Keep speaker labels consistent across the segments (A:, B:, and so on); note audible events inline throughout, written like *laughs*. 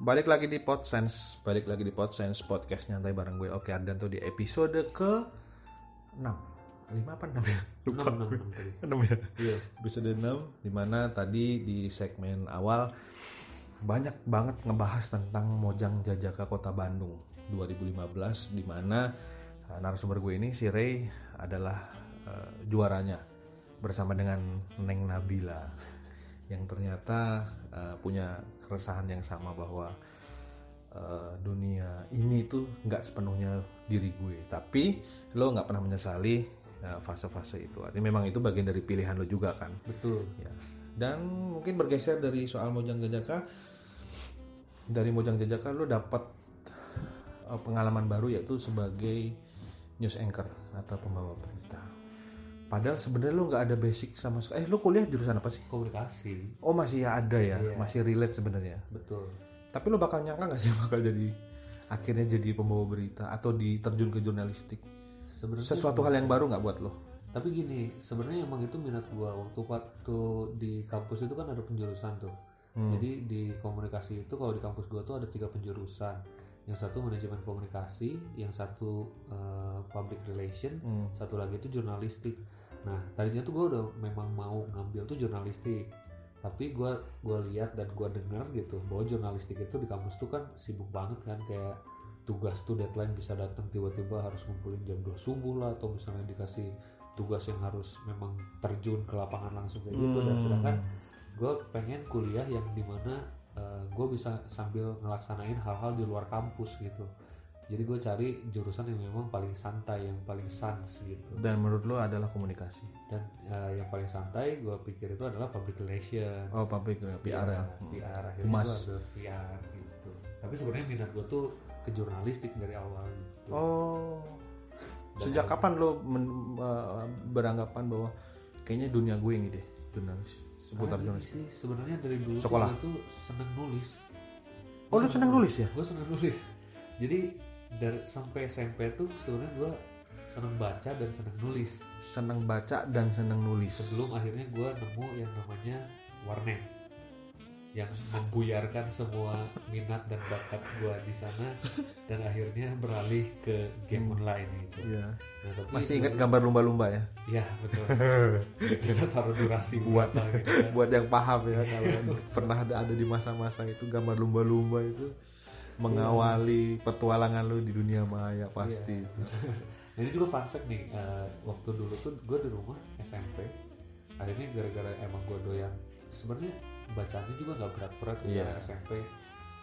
A: Balik lagi di Podsense, balik lagi di Podsense podcast nyantai bareng gue Oke Ardan tuh di episode ke 6. 5 apa 6 ya? Lupa.
B: Enam, enam, enam tadi.
A: 6 ya.
B: Iya.
A: Episode 6 dimana tadi di segmen awal banyak banget ngebahas tentang Mojang Jajaka Kota Bandung 2015 dimana eh, narasumber gue ini si Ray adalah eh, juaranya bersama dengan Neng Nabila yang ternyata eh, punya keresahan yang sama bahwa eh, dunia ini tuh nggak sepenuhnya diri gue tapi lo nggak pernah menyesali eh, fase-fase itu artinya memang itu bagian dari pilihan lo juga kan
B: Betul.
A: ya. Dan mungkin bergeser dari soal Mojang Jajaka, dari Mojang Jajaka lo dapat eh, pengalaman baru yaitu sebagai news anchor atau pembawa berita. Padahal sebenarnya lo nggak ada basic sama sekali. Eh lo kuliah jurusan apa sih?
B: Komunikasi.
A: Oh masih ya ada ya,
B: Iya.
A: masih relate sebenarnya.
B: Betul.
A: Tapi lo bakal nyangka nggak sih *laughs* bakal jadi akhirnya jadi pembawa berita atau diterjun ke jurnalistik?
B: Sebenarnya
A: Sesuatu hal yang baru nggak buat lo?
B: Tapi gini, sebenarnya emang itu minat gua waktu waktu di kampus itu kan ada penjurusan tuh.
A: Hmm.
B: Jadi di komunikasi itu kalau di kampus gua tuh ada tiga penjurusan. Yang satu manajemen komunikasi, yang satu eh, public relation,
A: Hmm.
B: satu lagi itu jurnalistik. Nah tadinya tuh gue udah memang mau ngambil tuh jurnalistik, tapi gue gua lihat dan gue dengar gitu bahwa jurnalistik itu di kampus tuh kan sibuk banget kan kayak tugas tuh deadline bisa datang tiba-tiba harus ngumpulin jam 2 subuh lah atau misalnya dikasih tugas yang harus memang terjun ke lapangan langsung kayak gitu dan
A: Hmm.
B: sedangkan gue pengen kuliah yang dimana gue bisa sambil ngelaksanain hal-hal di luar kampus gitu jadi gue cari jurusan yang memang paling santai yang paling sans gitu
A: Dan menurut lo adalah komunikasi?
B: dan eh, yang paling santai gue pikir itu adalah public relation
A: Oh public PR
B: Iya.
A: ya.
B: PR akhirnya
A: Humas.
B: gue ambil PR gitu tapi sebenarnya minat gue tuh ke jurnalistik dari awal gitu
A: Oh. Sejak kapan lo men- eh, beranggapan bahwa kayaknya dunia gue ini deh jurnalis seputar
B: Karena
A: jurnalis.
B: gini sih sebenarnya dari dulu
A: Sekolah.
B: gue tuh seneng nulis
A: Oh, lu seneng nulis ya?
B: gue seneng nulis jadi dari sampai SMP tuh sebenarnya gue seneng baca dan seneng nulis
A: Seneng baca dan seneng nulis.
B: sebelum akhirnya gue nemu yang namanya warnet yang membuyarkan semua minat dan bakat gue di sana dan akhirnya beralih ke game online gitu.
A: Iya.
B: Nah, tapi
A: Masih ingat gambar lumba-lumba ya?
B: Ya betul. Kita taruh durasi buat gitu. kan.
A: *laughs* Buat yang paham ya kalau pernah ada, ada di masa-masa itu gambar lumba-lumba itu mengawali petualangan lo di dunia maya pasti.
B: Nah, ini juga fun fact nih, eh, waktu dulu tuh gue di rumah SMP, akhirnya gara-gara emang gue doyan. Sebenarnya bacaannya juga nggak berat-berat
A: Iya.
B: ya SMP.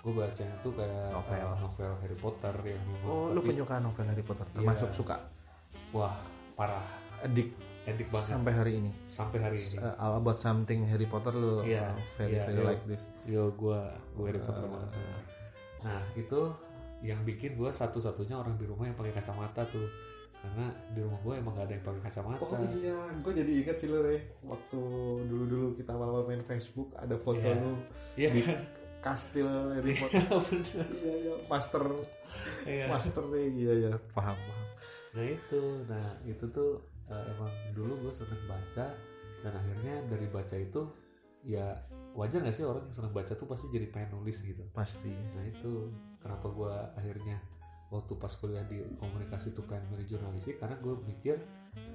B: Gue bacanya tuh kayak
A: Novel.
B: eh, novel Harry Potter yang memang-
A: Oh, lu
B: tapi-
A: penyuka novel Harry Potter termasuk suka
B: wah parah,
A: Iya. adik
B: edik banget
A: sampai hari ini.
B: sampai hari ini.
A: Uh, all about something Harry Potter lo
B: Hmm. Iya,
A: uh, very
B: iya,
A: very
B: iya.
A: like this.
B: Yo gue gue Harry Potter
A: Eh.
B: banget. Nah itu yang bikin gue satu-satunya orang di rumah yang pakai kacamata tuh, karena di rumah gue emang gak ada yang pakai kacamata.
A: Oh iya, gue jadi ingat sih lo Re, waktu dulu-dulu kita awal-awal main Facebook ada foto
B: Iya. *laughs*
A: lo
B: Iya
A: di
B: kan?
A: kastil Harry Potter.
B: Bener.
A: iya iya, master
B: Iya.
A: master Re, iya iya paham paham.
B: Nah itu, nah itu tuh eh, emang dulu gue seneng baca dan akhirnya dari baca itu ya wajar gak sih orang yang seneng baca tuh pasti jadi pengen nulis gitu.
A: Pasti.
B: Nah itu kenapa gue akhirnya waktu pas kuliah di komunikasi tuh pengen milih jurnalistik karena gue mikir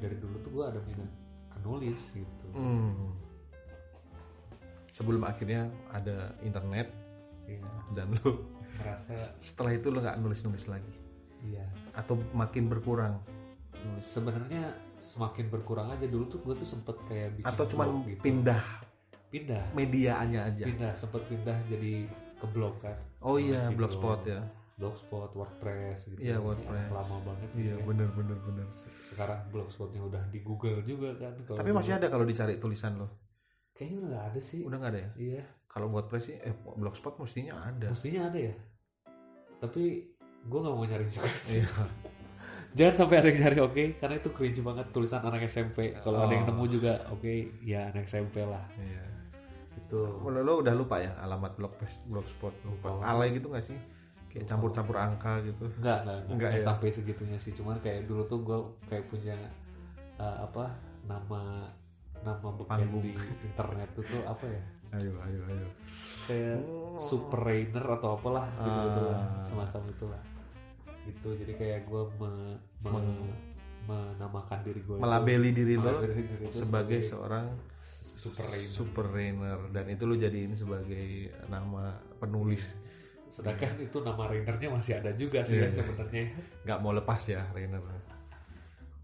B: dari dulu tuh gue ada minat ke nulis gitu.
A: Hmm. Sebelum akhirnya ada internet
B: Iya,
A: dan lo
B: merasa
A: *laughs* setelah itu lo nggak nulis-nulis lagi
B: iya.
A: atau makin berkurang
B: Sebenarnya semakin berkurang aja dulu tuh gue tuh sempet kayak bikin
A: atau cuman
B: blog gitu.
A: pindah Ya.
B: pindah
A: mediaannya aja.
B: pindah sempet pindah jadi ke blog kan
A: Oh iya,
B: Nulis di
A: blogspot ya.
B: blogspot wordpress gitu
A: Iya,
B: Ini
A: WordPress.
B: lama banget
A: Iya
B: gitu ya.
A: bener bener bener.
B: sekarang blogspotnya udah di google juga kan Kalau
A: Tapi
B: dulu-
A: masih ada kalau dicari tulisan lo.
B: kayaknya nggak ada sih
A: Udah nggak ada ya?
B: iya
A: Kalau WordPress sih, eh Blogspot mestinya ada.
B: mestinya ada ya tapi gue nggak mau nyari juga sih
A: Iya.
B: *laughs* jangan sampai ada yang nyari oke karena itu cringe banget tulisan anak SMP kalau ada yang
A: Oh.
B: nemu juga oke ya anak SMP lah
A: Iya.
B: itu
A: Lo, lo udah lupa ya alamat Blogspot, Blogspot lupa.
B: Lupa.
A: Alay gitu nggak sih? Kayak campur-campur angka gitu.
B: Enggak, enggak, enggak,
A: Enggak
B: Enggak
A: ya?
B: sampai segitunya sih. Cuman kayak dulu tuh gue kayak punya eh, apa nama nama beken
A: Panggung.
B: di internet tuh tuh apa ya?
A: Ayo, ayo, ayo.
B: Kayak
A: Hmm,
B: super rainer atau apalah gitu, lah
A: Ah.
B: semacam itulah itu jadi kayak gue menamakan diri gue
A: melabeli diri lo
B: diri gua
A: sebagai seorang
B: super rainer
A: super rainer dan itu lo jadiin sebagai nama penulis
B: sedangkan itu nama rainernya masih ada juga sih
A: Iya,
B: ya
A: iya.
B: sebenarnya
A: nggak mau lepas ya rainer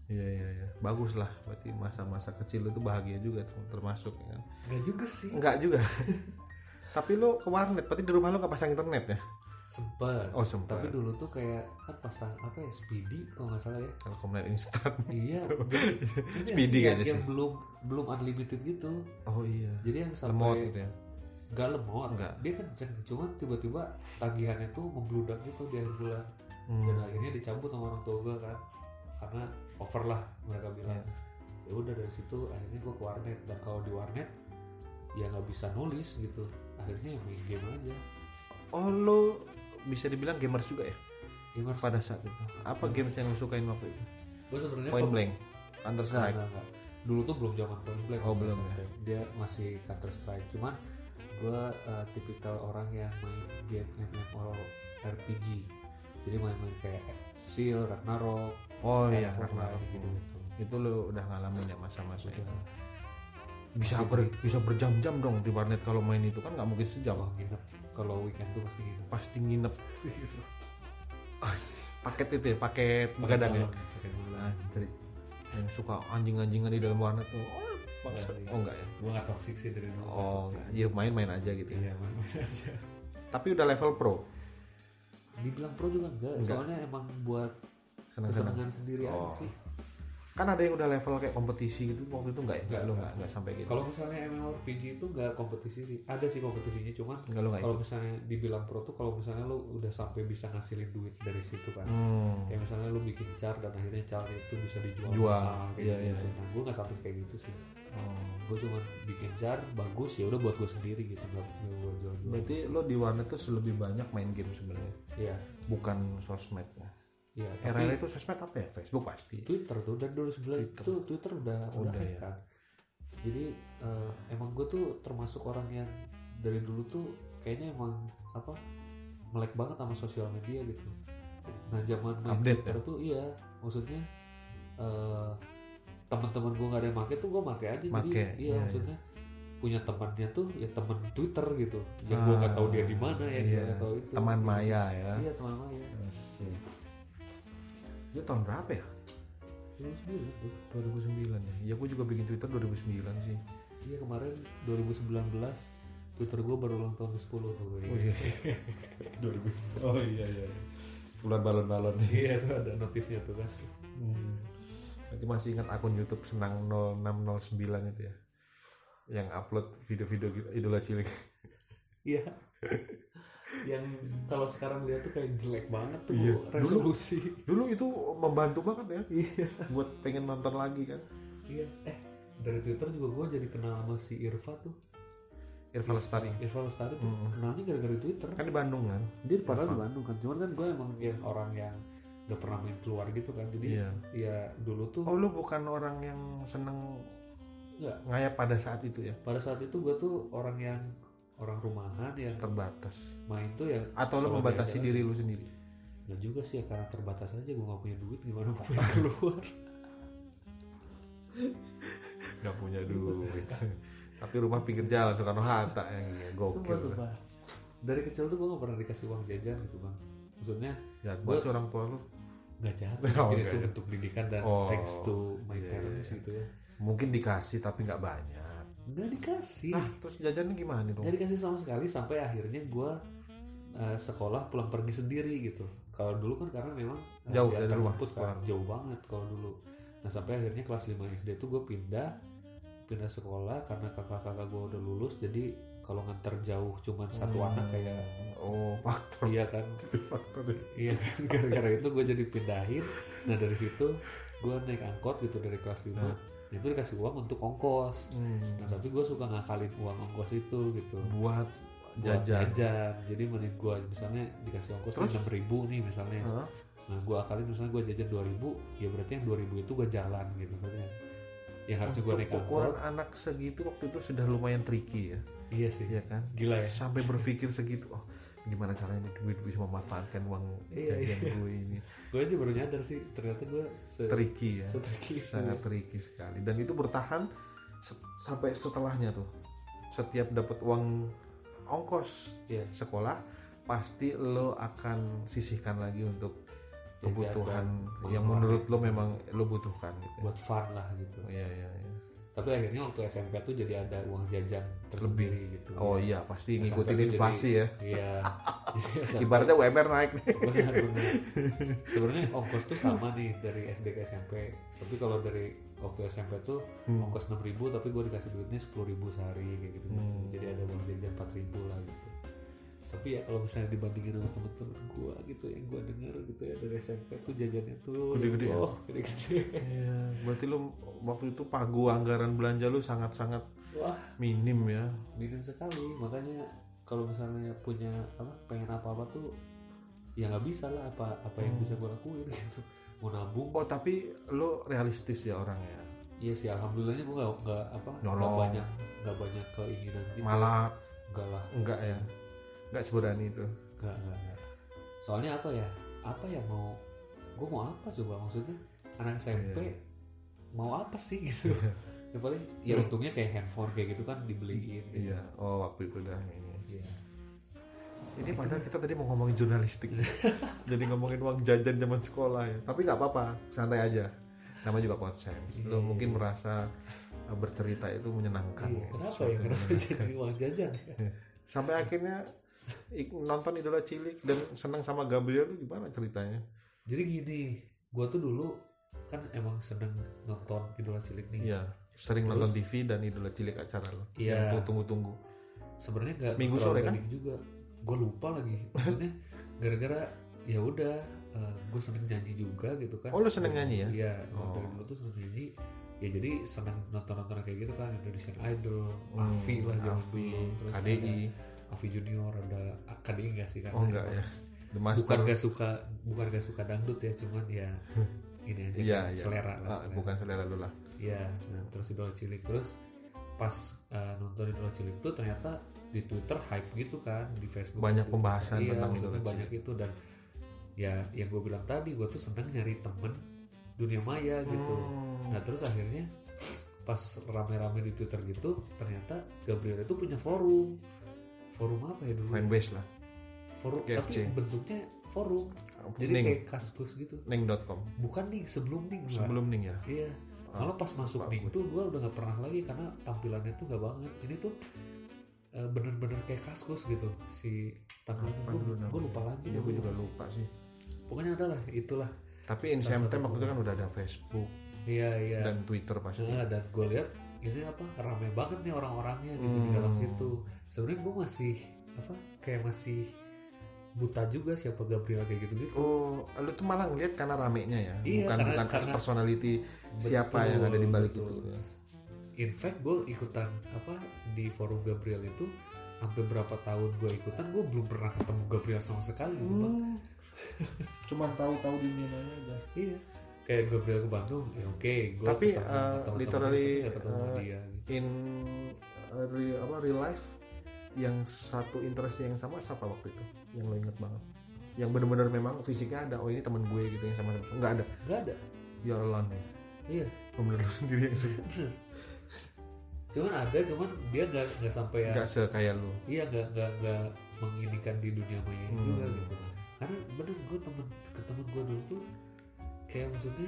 A: iya iya iya bagus lah berarti masa-masa kecil itu bahagia juga tuh, termasuk ya kan
B: nggak juga sih
A: Enggak juga. *laughs* Tapi lo ke warnet, berarti di rumah lo nggak pasang internet ya?
B: sempet
A: Oh sempat.
B: tapi dulu tuh kayak kan pasang apa ya speedy kalau nggak salah ya
A: Telkomnet instan. *laughs*
B: iya jadi- ini
A: Speedy
B: sih yang-
A: kayaknya
B: yang belum belum unlimited gitu
A: Oh iya.
B: jadi yang sampai
A: Lemot gitu ya.
B: nggak lemot
A: Nggak.
B: dia kenceng cuman tiba-tiba tagihannya tuh membludak gitu di akhir bulan
A: Hmm.
B: dan akhirnya dicabut sama orang tua gue kan karena over lah mereka
A: Iya.
B: bilang
A: Hmm.
B: ya udah dari situ akhirnya gue ke warnet dan kalau di warnet ya nggak bisa nulis gitu akhirnya ya main game aja
A: Oh lo bisa dibilang gamers juga ya
B: gamer
A: pada saat itu. Apa games yang lo sukain waktu itu?
B: gue sebenarnya
A: Point
B: pem-
A: Blank, Counter
B: Nggak,
A: Strike.
B: nggak, nggak. Dulu tuh belum zaman Point Blank.
A: Oh, belum
B: Counter Strike. Dia masih Counter Strike. Cuman gue tipikal orang yang main game MMORPG. Jadi main-main kayak Seal, Ragnarok,
A: Oh iya,
B: Half-Life,
A: karena
B: gitu-gitu.
A: itu lo udah ngalamin ya masa-masa itu.
B: Udah.
A: Bisa ber, bisa berjam-jam dong di warnet kalau main itu kan nggak mungkin sejam.
B: Wah, nginep. Kalau weekend tuh pasti nginep.
A: Pasti nginep. *laughs*
B: *laughs*
A: paket itu ya, paket begadang ya. Nah, cerit yang suka anjing-anjingan di dalam warnet tuh. Oh, bangsa.
B: Iya.
A: oh enggak ya.
B: Gue nggak toxic sih dari dulu. nggak
A: Oh,
B: toxic.
A: iya main-main aja gitu. ya.
B: Iya, main-main aja.
A: Tapi udah level pro.
B: Dibilang pro juga enggak,
A: Nggak.
B: soalnya emang buat
A: Senang-senang.
B: kesenangan sendiri aja
A: Oh.
B: sih.
A: Kan ada yang udah level kayak kompetisi gitu waktu itu enggak ya? Enggak, lo
B: Nggak, nggak.
A: enggak enggak sampai gitu.
B: Kalau misalnya MMORPG itu nggak kompetisi sih, ada sih kompetisinya cuman
A: Enggak lo enggak
B: kalau
A: ikut.
B: misalnya dibilang pro tuh kalau misalnya lu udah sampai bisa ngasilin duit dari situ kan
A: Hmm.
B: kayak misalnya lu bikin char dan akhirnya char itu bisa dijual
A: Jual.
B: mahal, kayak
A: Iya,
B: gitu,
A: iya, iya.
B: nah gue nggak sampai kayak gitu sih
A: Oh.
B: gue cuma bikin char bagus ya udah buat gue sendiri gitu nggak nggak gue jual jual
A: Berarti lo di warnet tuh lebih banyak main game sebenarnya,
B: iya
A: bukan sosmed. ya.
B: iya
A: Era
B: tapi
A: itu sosmed apa ya? Facebook pasti.
B: Twitter tuh dari 2011
A: Twitter.
B: itu Twitter udah udah,
A: Udah,
B: hack
A: ya.
B: kan jadi eh, emang gue tuh termasuk orang yang dari dulu tuh kayaknya emang apa melek banget sama sosial media gitu nah zaman main
A: Update ya?
B: Twitter tuh iya maksudnya eh teman-teman gue nggak ada yang make tuh gue make aja
A: Make,
B: jadi iya
A: iya,
B: maksudnya punya temannya tuh ya teman Twitter gitu yang gue nggak tahu dia di mana ya
A: Ah, iya.
B: dia nggak tahu itu
A: Teman
B: Gitu.
A: maya ya.
B: iya teman maya
A: Asik. Itu tahun berapa ya?
B: Terus gitu
A: 2009 ya. Ya gue juga bikin Twitter 2009 sih.
B: Iya kemarin 2019 Twitter gue baru ulang tahun ke 10 tuh
A: Oh iya. *laughs* 2010. Oh iya iya. Keluar *laughs* balon-balon.
B: Iya tuh ada notifnya tuh kan
A: Hmm. Berarti masih ingat akun YouTube Senang 0609 itu ya. Yang upload video-video gil- idola cilik.
B: Iya Yang kalau sekarang lihat tuh kayak jelek banget tuh
A: Iya.
B: resolusi
A: *laughs* Dulu itu membantu banget ya.
B: Iya
A: Buat pengen nonton lagi kan.
B: Iya Eh dari Twitter juga gue jadi kenal sama si Irfa tuh
A: Irfan Lestari.
B: Irfa Lestari tuh kenalnya gara-gara Twitter
A: Kan di Bandung kan.
B: Dia padahal di Bandung kan Cuman kan gue emang yang orang yang gak pernah main keluar gitu kan Jadi
A: Iya.
B: ya dulu tuh
A: Oh lu bukan orang yang seneng
B: nggak
A: ngayap pada saat itu ya.
B: Pada saat itu gue tuh orang yang orang rumahan yang
A: Terbatas.
B: main tuh ya yang
A: Atau lu
B: Kalau
A: membatasi
B: diajak-
A: diri lu sendiri.
B: Ya juga sih ya karena terbatas aja gue gak punya duit gimana mau main *laughs* keluar
A: Gak punya
B: *laughs*
A: duit. Tapi rumah pinggir jalan Soekarno Hatta ya. Gokil.
B: Sumpah-sumpah Dari kecil tuh gue gak pernah dikasih uang jajan gitu bang Maksudnya
A: Ya buat orang tua lu.
B: gak jahat
A: *laughs* Oh,
B: Mungkin
A: nggak
B: itu
A: ya.
B: bentuk pendidikan dan
A: Oh,
B: thanks to my
A: iya, iya,
B: parents
A: iya.
B: gitu ya
A: Mungkin dikasih tapi nggak banyak.
B: Gak dikasih
A: Nah, terus jajannya gimana dong?
B: Gak dikasih sama sekali sampai akhirnya gue eh, sekolah pulang pergi sendiri gitu kalau dulu kan karena memang eh,
A: Jauh
B: diantar
A: dari rumah
B: jemput kan,
A: sekolah.
B: jauh banget kalau dulu nah sampai akhirnya kelas 5 SD tuh gue pindah pindah sekolah karena kakak-kakak gue udah lulus jadi kalau nganter jauh cuman satu
A: Hmm.
B: anak kayak
A: Oh, faktor.
B: iya kan
A: faktor. ya.
B: iya kan *laughs* gara-gara itu gue jadi pindahin nah dari situ gue naik angkot gitu dari kelas 5
A: Nah.
B: itu dikasih uang untuk ongkos nah
A: Hmm.
B: tapi gue suka ngakalin uang ongkos itu gitu
A: Buat
B: buat jajan.
A: jajan.
B: jadi mending gua misalnya dikasih ongkos "Eh,
A: Terus? Hmm.
B: enam ribu nih misalnya
A: Hah?
B: nah gua akalin misalnya gua jajan dua ribu ya berarti yang dua ribu itu gua jalan gitu kan yang harusnya gua
A: Untuk
B: naik
A: ukuran
B: angkot
A: anak segitu waktu itu sudah lumayan tricky ya.
B: Iya sih.
A: Iya kan?
B: Gila ya.
A: Sampai berpikir segitu, oh gimana caranya nih gue bisa memanfaatkan uang
B: Iya,
A: jajan
B: iya.
A: gue ini.
B: Gue sih baru nyadar sih ternyata gue se
A: Tricky ya.
B: se-tricky itu.
A: Sangat tricky sekali. Dan itu bertahan se- sampai setelahnya tuh. Setiap dapat uang ongkos
B: Iya.
A: sekolah, pasti lo akan sisihkan lagi untuk
B: Jajan
A: kebutuhan
B: dan
A: yang
B: makan.
A: menurut lo memang lo butuhkan gitu.
B: buat fun lah gitu.
A: Iya, iya, iya.
B: Tapi akhirnya waktu SMP tuh jadi ada uang jajan tersendiri gitu.
A: Oh iya, pasti
B: Ya, sampai
A: ngikutin
B: lo jadi-
A: inflasi ya. *laughs*
B: Iya. *laughs* Iya, sampai-
A: Ibaratnya UMR
B: *laughs*
A: naik nih.
B: benar benar. Sebenarnya ongkos tuh sama nih dari SD ke SMP. Tapi kalau dari waktu SMP tuh ongkos 6000 ribu tapi gue dikasih duitnya 10.000 ribu sehari kayak gitu. Jadi ada uang jajan 4.000 ribu lah gitu. Tapi ya kalau misalnya dibandingin sama temen-temen gue gitu yang gue denger gitu ya dari SMP tuh jajannya tuh
A: Gede-gede ya?
B: oh, gede-gede.
A: Iya, berarti lu waktu itu pagu anggaran belanja lu sangat-sangat
B: Wah
A: minim ya.
B: minim sekali makanya kalau misalnya punya apa pengen apa apa tuh ya nggak bisa lah apa apa yang bisa gue lakuin gitu mau nabung
A: Oh, tapi lu realistis ya orangnya.
B: iya sih alhamdulillahnya gue nggak nggak apa nggak
A: Nyolong.
B: banyak nggak banyak keinginan gitu
A: Malah
B: nggak lah
A: enggak ya. Enggak seberani itu.
B: nggak nggak nggak. soalnya apa ya apa ya mau gue mau apa coba maksudnya
A: Iya.
B: anak SMP mau apa sih gitu ya paling ya untungnya kayak handphone kayak gitu kan dibeliin gitu.
A: Iya, oh waktu itu dah ini.
B: Iya.
A: Ini padahal kita tadi mau ngomongin jurnalistik. *laughs* Jadi ngomongin uang jajan zaman sekolah ya. Tapi nggak apa-apa, santai aja. Nama juga konsen. Lu mungkin merasa eh, bercerita itu menyenangkan.
B: Iya,
A: ya.
B: kenapa
A: Sesuatu
B: ya
A: yang
B: kenapa *laughs* jadi uang jajan ya?
A: sampai akhirnya ik- nonton idola cilik dan senang sama Gabriel itu gimana ceritanya
B: Jadi gini, gua tuh dulu kan emang sedang nonton idola cilik nih.
A: Iya sering
B: Terus?
A: nonton TV dan idola cilik acara lo
B: Iya.
A: yang tunggu-tunggu
B: Sebenarnya nggak
A: Minggu
B: terlalu
A: sore kan?
B: gading juga. Gue lupa lagi. Maksudnya gara-gara ya udah gue seneng nyanyi juga gitu kan.
A: Oh, lu seneng nyanyi ya?
B: Iya,
A: Oh.
B: dari dulu tuh seneng nyanyi. Ya jadi seneng nonton-nonton kayak gitu kan Indonesian Idol, Avi lah zaman
A: Hmm, Avi,
B: dulu, terus
A: KDI
B: ada Avi Junior, ada ah, KDI enggak sih kan?
A: oh enggak ya The Master
B: Bukan gak suka, bukan gak suka dangdut ya, cuman
A: *laughs*
B: ya ini aja
A: Iya,
B: kan,
A: iya.
B: selera lah.
A: Ah,
B: selera.
A: bukan selera lu lah
B: Iya, nah, terus idola cilik terus pas eh, nonton idola cilik itu ternyata di Twitter hype gitu kan, di Facebook
A: Banyak
B: di Twitter.
A: pembahasan
B: Iya,
A: tentang
B: maksudnya
A: Idola
B: banyak itu dan ya yang gue bilang tadi gue tuh seneng nyari temen dunia maya gitu.
A: Hmm.
B: Nah terus akhirnya pas rame-rame di Twitter gitu ternyata Gabriel itu punya forum forum apa ya dulu?
A: fanbase lah
B: Forum tapi
A: GFC.
B: bentuknya forum jadi
A: Ning.
B: kayak kaskus gitu.
A: ning.com
B: Bukan nih sebelum nih
A: sebelum Ning ya
B: Iya. Malah pas masuk
A: bagus.
B: Ning tuh gue udah gak pernah lagi karena tampilannya tuh gak banget. Ini tuh eh, bener-bener kayak kaskus gitu si tampilan
A: Apa dulu
B: gue.
A: namanya?
B: Gue lupa lagi.
A: Iya,
B: namanya
A: gue juga
B: apa sih.
A: lupa sih
B: Pokoknya adalah itulah.
A: tapi in
B: Salah
A: same
B: satu
A: time waktu itu kan udah ada Facebook
B: Iya iya.
A: dan Twitter pasti
B: Nah, dan gue lihat ini apa rame banget nih orang-orangnya gitu di dalam
A: Hmm.
B: situ. Sebenarnya gue masih apa kayak masih buta juga siapa Gabriel kayak gitu gitu.
A: Oh, lu tuh malah ngeliat karena ramenya ya,
B: Iya,
A: bukan
B: karena-
A: bukan
B: karena-
A: personality siapa yang ada di balik itu. ya.
B: betul. in fact gue ikutan apa di forum Gabriel itu sampai berapa tahun gue ikutan gue belum pernah ketemu Gabriel sama sekali gitu Bang.
A: Hmm. Cuman tahu-tahu dunianya aja.
B: iya kayak Gabriel ke Bandung ya oke gue
A: Tapi, eh, literally,
B: ketemu sama
A: eh,
B: dia
A: In uh, real, apa real life yang satu interestnya yang sama siapa waktu itu? Yang lo inget banget? Yang bener-bener memang fisiknya ada. Oh ini teman gue gitu yang sama sama. Enggak ada.
B: nggak ada
A: You're alone ya.
B: iya
A: Bener lu *laughs* sendiri yang suka.
B: bener cuman ada cuman dia nggak nggak sampai ya
A: Enggak se kayak lu.
B: iya nggak nggak nggak menginikan di dunia maya
A: Hmm.
B: juga gitu karena bener gue temen ke temen gue dulu tuh kayak maksudnya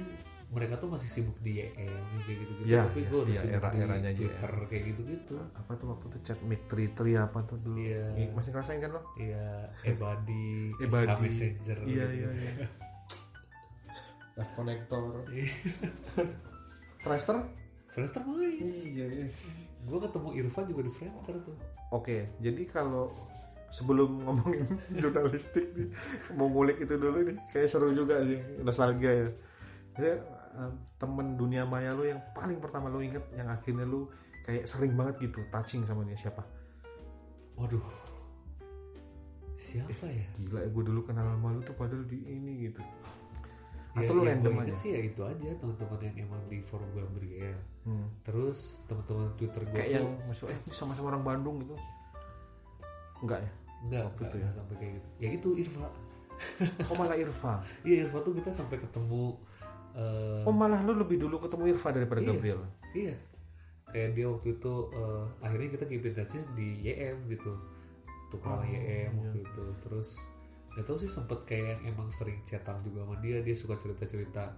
B: mereka tuh masih sibuk di YM kayak gitu gitu
A: Iya,
B: tapi
A: iya,
B: gue udah
A: iya,
B: sibuk
A: era-eranya
B: di
A: aja
B: Twitter kayak gitu gitu
A: Apa tuh waktu itu chat mic tri tri apa tuh dulu?
B: Iya.
A: Masih ngerasain kan lo?
B: iya Ebadi
A: Ebadi.
B: SK Messenger
A: Iya
B: gitu.
A: iya iya.
B: *laughs*
A: Left connector.
B: Iya.
A: Friendster?
B: Friendster main
A: Iya iya.
B: gue ketemu Irfan juga di Friendster tuh
A: Oke, jadi kalau sebelum *laughs* ngomongin jurnalistik nih, mau ngulik itu dulu nih, kayak seru juga sih, nostalgia ya. Jadi, em, temen dunia maya lu yang paling pertama lu inget, yang akhirnya lu kayak sering banget gitu touching sama dia siapa?
B: waduh ya? siapa ya
A: Gila, gue dulu kenal sama lu tuh padahal di ini gitu. Atau lu
B: yang
A: random
B: gua inget
A: aja?
B: sih ya itu aja teman-teman yang emang di forum Gabriel
A: Hmm.
B: terus teman-teman Twitter gue
A: Kayak yang masuk eh sama-sama orang Bandung gitu. Enggak ya?
B: enggak,
A: waktu itu
B: enggak,
A: ya?
B: enggak sampai kayak gitu ya itu Irfa *laughs*
A: Oh malah Irfa.
B: iya Irfa tuh kita sampai ketemu eh,
A: Oh malah lu lebih dulu ketemu Irfa daripada
B: Iya.
A: Gabriel.
B: Iya. Kayak dia waktu itu eh, akhirnya kita keep in touch-nya di YM gitu.
A: Oh,
B: Tukeran YM waktu itu. Terus gak tau sih sempet kayak yang emang sering chatan juga sama dia. Dia suka cerita-cerita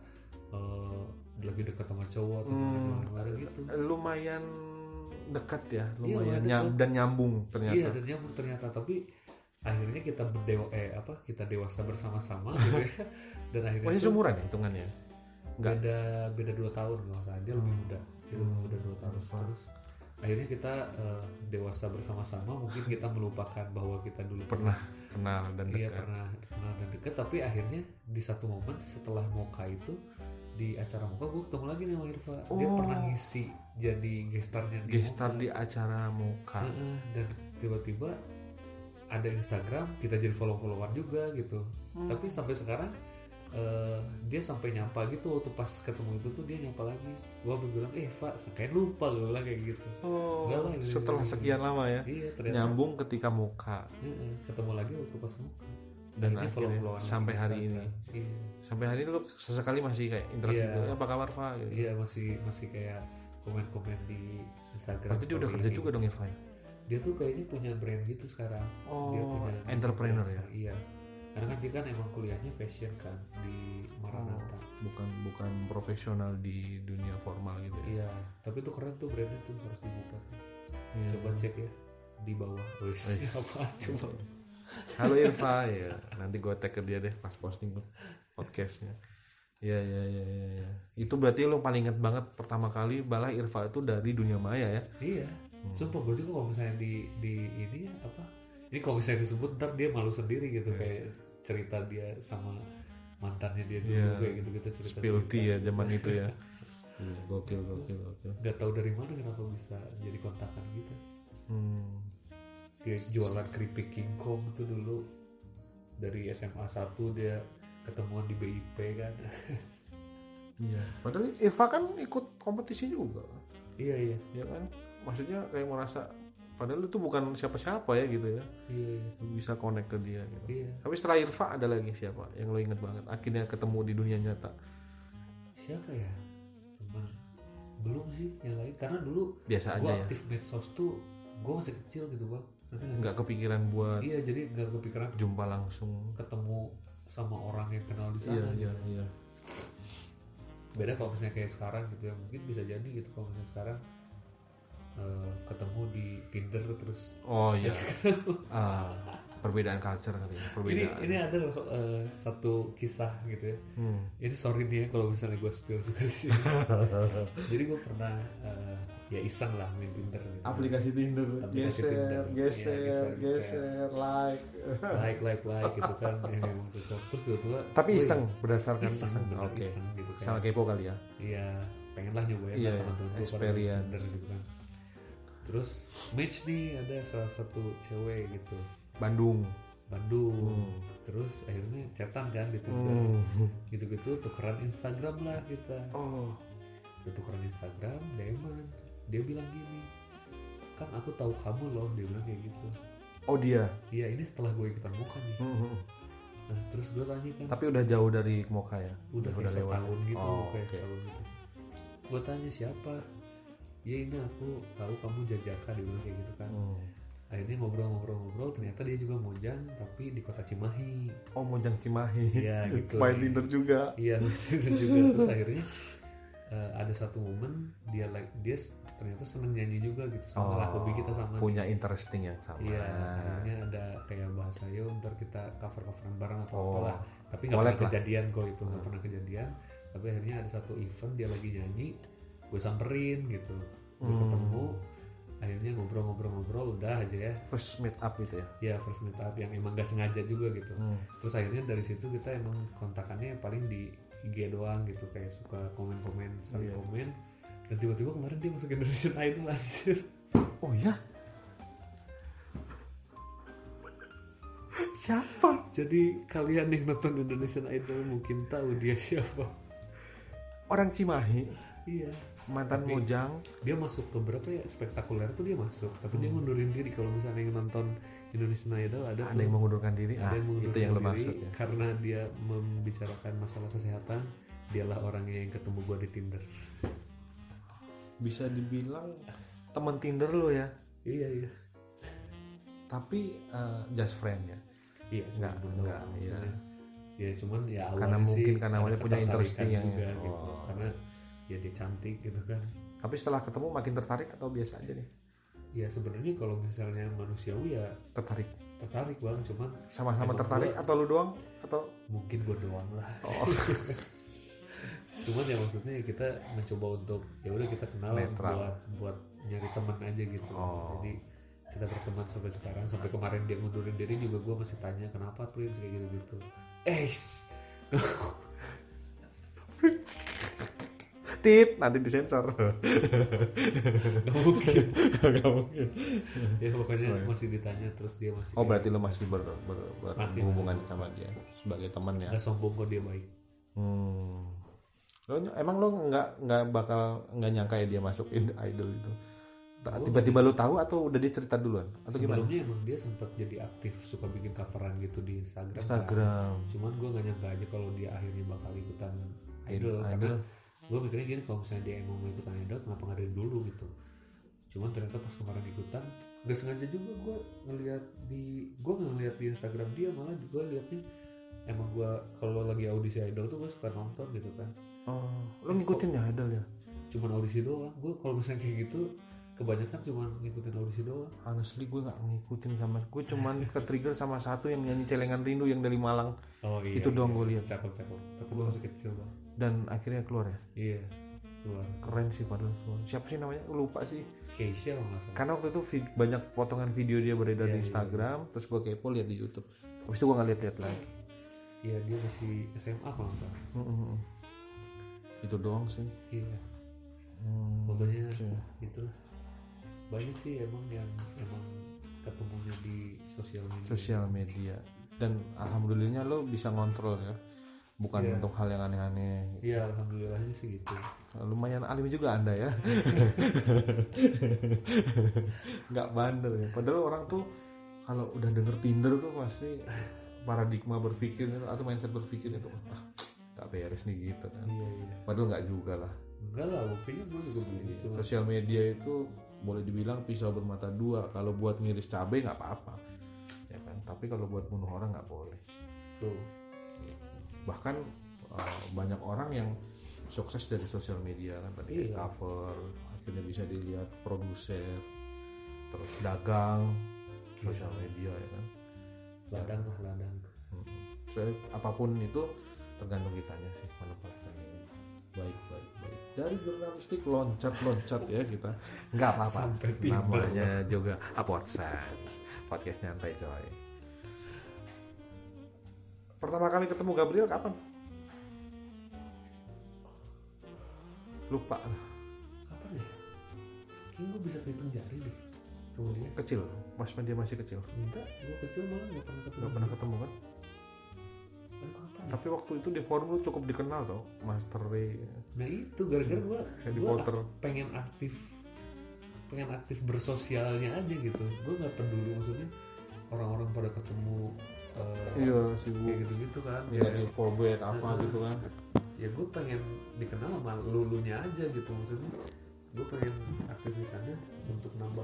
B: eh, lagi dekat sama cowok atau
A: Hmm.
B: gimana bareng gitu.
A: Lumayan dekat ya,
B: Iya, lumayan
A: lumayan nyam-
B: dekat.
A: dan nyambung ternyata.
B: Iya, dan nyambung ternyata tapi akhirnya kita berdewa eh apa kita dewasa bersama-sama gitu
A: *laughs*
B: ya dan akhirnya
A: Masih
B: tuh
A: seumuran ya hitungannya. enggak.
B: beda beda dua tahun nggak salah dia
A: Hmm.
B: lebih muda dia lebih muda dua tahun
A: Alfa.
B: terus akhirnya kita eh, dewasa bersama-sama mungkin kita melupakan bahwa kita dulu
A: Pernah kenal dan
B: iya
A: dekat.
B: pernah pernah dan dekat tapi akhirnya di satu momen setelah Moka itu di acara Moka gue ketemu lagi nih sama Irfa dia
A: Oh.
B: pernah ngisi jadi gestarnya di Hmm,
A: Gestar
B: Moka.
A: di acara muka.
B: Heeh, dan tiba-tiba ada Instagram kita jadi follow-followan juga gitu
A: Hmm.
B: tapi sampai sekarang eh, dia sampai nyapa gitu waktu pas ketemu itu tuh dia nyapa lagi gua sampai bilang eh Pak sekalian lupa gue bilang kayak gitu
A: Oh,
B: Enggak lah, ini-
A: setelah
B: ini-
A: sekian lama ya.
B: iya ternyata
A: Nyambung ketika muka
B: Heeh, ketemu lagi waktu pas muka
A: dan
B: Akhirnya
A: akhirnya
B: follow-followan
A: sampai
B: di
A: hari ini.
B: Instagram. iya,
A: Sampai hari ini lu sesekali masih kayak interaksi
B: Iya.
A: gitu. "Eh, Apa kabar, Pak? Gitu.
B: Iya, masih masih kayak komen-komen di Instagram
A: Berarti dia udah
B: story
A: kerja
B: ini.
A: juga dong Irfan.
B: dia tuh kayaknya punya brand gitu sekarang dia
A: Oh,
B: punya
A: entrepreneur ya.
B: iya karena kan dia kan emang kuliahnya fashion kan di Maranatha
A: Bukan bukan profesional di dunia formal gitu ya.
B: iya tapi itu keren tuh brandnya tuh harus dibuka
A: Iya.
B: coba cek ya di bawah wes
A: Wes.
B: *laughs* apa Iya, coba
A: Halo Irfa ya. Nanti gue tag ke dia deh pas posting tuh podcastnya. Iya iya iya iya. Ya. Itu berarti lo paling inget banget pertama kali balah Irfa itu dari dunia maya ya.
B: iya sumpah gue juga kalau misalnya di di ini ya, apa ini kalau misalnya disebut ntar dia malu sendiri gitu
A: Iya.
B: kayak cerita dia sama mantannya dia dulu
A: Iya.
B: kayak gitu gitu cerita
A: Spill tea ya zaman itu ya. Iya, gokil gokil gokil.
B: nggak tahu dari mana kenapa bisa jadi kontakan gitu
A: Hmm.
B: dia jualan keripik King Kong itu dulu dari SMA 1 dia ketemuan di BIP kan *laughs*
A: Iya. Padahal Irfa kan ikut kompetisi juga.
B: iya iya
A: Ya kan? Maksudnya kayak merasa padahal itu bukan siapa-siapa ya gitu ya.
B: iya iya.
A: Lu bisa connect ke dia gitu.
B: iya
A: Tapi setelah Irfa ada lagi siapa yang lo inget banget? Akhirnya ketemu di dunia nyata.
B: siapa ya teman belum sih yang lain karena dulu
A: Biasa
B: gue
A: aja ya.
B: aktif medsos tuh gue masih kecil gitu bang Ngerti nggak sih?
A: Nggak kepikiran buat
B: iya jadi nggak kepikiran
A: jumpa langsung.
B: ketemu sama orang yang kenal di sana gitu.
A: iya.
B: beda kalau misalnya kayak sekarang gitu ya mungkin bisa jadi gitu kalau misalnya sekarang eh, ketemu di Tinder terus
A: Oh iya.
B: *laughs* ketemu
A: Ah, perbedaan culture kali ya.
B: ini
A: Perbedaan.
B: ini ada loh, eh, satu kisah gitu ya
A: Hmm.
B: ini sorry nih ya kalau misalnya gue spill juga di
A: *laughs*
B: sini jadi gue pernah eh, ya iseng lah main Tinder gitu.
A: Aplikasi Tinder
B: Aplikasi Tinder. Iya, geser,
A: like.
B: like like like gitu kan yang memang cocok terus tiba-tiba
A: Tapi
B: wih,
A: iseng berdasarkan
B: iseng
A: iseng.
B: bener
A: Oke.
B: iseng gitu kan
A: Salah kepo kali ya.
B: iya pengen lah nyobain
A: Iya,
B: lah teman-teman gue pada main
A: experience.
B: Tinder gitu kan terus match nih ada salah satu cewek gitu
A: Bandung.
B: Bandung
A: Hmm.
B: terus akhirnya chatan kan di Tinder gitu-gitu tukeran Instagram lah kita
A: Oh.
B: tukeran Instagram Deman dia bilang gini Kang aku tahu kamu loh dia bilang kayak gitu
A: Oh dia. Hmm.
B: iya ini setelah gue ikutan muka nih nah terus gue tanya kan
A: Tapi udah jauh dari Moka ya.
B: udah kayak setahun gitu
A: Oh,
B: kayak
A: oke.
B: setahun gitu gue tanya siapa ya ini aku tahu kamu jajaka dia bilang kayak gitu kan
A: Hmm.
B: akhirnya ngobrol-ngobrol-ngobrol ternyata dia juga mojang tapi di kota Cimahi
A: Oh Mojang Cimahi.
B: Iya, gitu.
A: *laughs* Main Tinder juga.
B: Iya *laughs* dan juga terus akhirnya eh, ada satu momen dia like dia s- ternyata seneng nyanyi juga gitu sama lah hobi kita sama.
A: Oh, Punya interesting yang sama.
B: Iya akhirnya ada kayak bahasa yo ntar kita cover coveran bareng atau
A: Oh.
B: apalah. Tapi nggak
A: Collab
B: pernah
A: lah. Ah.
B: kejadian kok itu nggak pernah kejadian. Tapi akhirnya ada satu event dia lagi nyanyi, gue samperin gitu, gue
A: Hmm.
B: ketemu, akhirnya ngobrol-ngobrol-ngobrol udah aja ya.
A: First meet up gitu ya.
B: Ya first meet up yang emang gak sengaja juga gitu
A: Hmm.
B: terus akhirnya dari situ kita emang kontakannya paling di IG doang gitu kayak suka komen-komen
A: Iya.
B: saling komen dan tiba-tiba kemarin dia masuk Indonesian Idol
A: iya?
B: *laughs* anjir
A: Oh ya. siapa
B: Jadi kalian yang nonton Indonesian Idol mungkin tahu dia *laughs* siapa.
A: orang Cimahi
B: Iya.
A: mantan
B: Tapi-
A: Mojang
B: Dia masuk ke berapa ya spektakuler tuh dia masuk, tapi dia ngundurin diri kalau misalnya yang nonton Indonesian Idol ada,
A: Hmm. ada
B: tuh,
A: yang mengundurkan diri
B: ada
A: ah
B: yang
A: itu
B: mengundurkan
A: yang lo
B: diri
A: maksud ya
B: karena dia membicarakan masalah kesehatan. Dialah orangnya yang ketemu gua di Tinder.
A: bisa dibilang teman Tinder lo ya
B: Iya iya.
A: tapi eh, just friend ya
B: Iya, cuma
A: Nggak,
B: temen
A: nggak,
B: doang,
A: iya.
B: maksudnya. Ya cuman ya awalnya
A: Karena mungkin
B: sih
A: karena
B: ada
A: awalnya punya interest
B: ketertarikan
A: yang-
B: juga, gitu.
A: Oh.
B: Karena ya dia cantik gitu kan.
A: tapi setelah ketemu makin tertarik atau biasa aja nih
B: Ya sebenarnya kalau misalnya manusiawi ya
A: tertarik
B: tertarik bang, cuman
A: sama-sama
B: Emang
A: tertarik
B: gua-
A: atau lu doang atau
B: mungkin gue doang lah.
A: oh, *laughs*
B: Cuman ya maksudnya ya kita mencoba untuk ya udah kita kenal
A: Netral.
B: buat buat nyari teman aja gitu.
A: Oh.
B: Jadi kita berteman sampai sekarang sampai kemarin dia ngundurin diri juga gue masih tanya kenapa Prince kayak gitu gitu. Eh,
A: tit nanti disensor
B: *laughs* *laughs* nggak
A: *laughs*
B: mungkin.
A: Nggak mungkin.
B: ya pokoknya masih ditanya terus dia masih
A: iya. oh berarti lu masih ber, ber- ber-
B: Masih,
A: berhubungan sama dia sebagai teman ya
B: nggak sombong kok dia baik.
A: Hmm. Lo ny- emang lo nggak nggak bakal nggak nyangka ya dia masuk in- idol itu? Ta- Tiba-tiba lo tahu atau udah dia cerita duluan atau gimana?
B: Sebelumnya emang dia sempat jadi aktif suka bikin coveran gitu di Instagram. kan.
A: Instagram.
B: Cuman gue gak nyangka aja kalau dia akhirnya bakal ikutan
A: Idol.
B: idol, karena gue mikirnya gini kalau misalnya dia emang mau ikutan idol kenapa nggak dari dulu gitu. Cuman ternyata pas kemarin ikutan gak sengaja juga gue ngeliat di gue ngeliat di Instagram dia malah gue liatnya emang gue kalau lagi audisi idol tuh gue suka nonton gitu kan.
A: Oh, lo ngikutin ya idol ya?
B: Cuman audisi doang. Gue kalau misalnya kayak gitu kebanyakan cuman ngikutin audisi doang.
A: Honestly gue nggak ngikutin sama, gue cuman ke trigger sama satu yang nyanyi celengan rindu yang dari Malang
B: Oh iya.
A: Itu doang gua lihat.
B: Cakep cakep. Tapi gua masih kecil bang.
A: dan akhirnya keluar ya.
B: Iya. Keluar.
A: Keren sih padahal suara. Siapa sih namanya? Lupa sih.
B: Keisha kalau nggak salah.
A: Karena waktu itu vid- banyak potongan video dia beredar
B: Iya,
A: di
B: iya.
A: Instagram, terus gue kepo lihat di YouTube. Habis itu gue nggak lihat-lihat lagi.
B: Iya dia masih SMA kalau nggak salah.
A: Mm, mm, mm. Itu doang sih.
B: Iya.
A: Hmm,
B: Pokoknya
A: oke.
B: itulah. Banyak sih emang yang emang ketemunya di sosial media.
A: sosial media dan alhamdulillahnya lo bisa ngontrol ya bukan
B: Iya.
A: untuk hal yang aneh-aneh
B: Iya alhamdulillahnya sih gitu.
A: lumayan alim juga anda
B: *laughs*
A: ya nggak bandel ya padahal orang tuh kalau udah denger Tinder tuh pasti paradigma berpikir atau mindset berpikirnya tuh ah nggak beres nih gitu kan
B: Iya iya.
A: padahal nggak juga lah
B: Enggak lah buktinya gue juga begini. Cuma
A: sosial media itu boleh dibilang pisau bermata dua kalau buat ngiris cabai nggak apa-apa ya kan tapi kalau buat bunuh orang nggak boleh
B: tuh.
A: bahkan uh, banyak orang yang sukses dari sosial media kan tadi
B: Iya.
A: cover akhirnya bisa dilihat produser terus dagang sosial media ya kan
B: Ladang lah ladang.
A: Mm-mm. Hmm. saya apapun itu tergantung kitanya sih menempatkannya baik baik baik dari jurnalistik loncat loncat ya kita nggak apa-apa
B: Sampai tiba.
A: namanya juga podcast podcast nyantai coy pertama kali ketemu Gabriel kapan lupa
B: Kapan ya? Kayaknya gue bisa kehitung jari deh. Kemudian
A: kecil mas dia masih kecil
B: enggak, gue kecil malah nggak pernah ketemu.
A: nggak pernah ketemu kan
B: Aduh, kapan ya?
A: tapi waktu itu di forum lu cukup dikenal tau Master Ray
B: Nah itu gara-gara gue
A: Harry
B: gua
A: Potter.
B: ak- pengen aktif pengen aktif bersosialnya aja gitu. Gue nggak peduli maksudnya orang-orang pada ketemu eh,
A: iya sibuk
B: kayak gitu-gitu kan.
A: ya
B: Kayak-
A: di forbid apa gitu kan
B: ya gue pengen dikenal sama lulunya aja gitu maksudnya. Gue pengen aktif di sana untuk nambah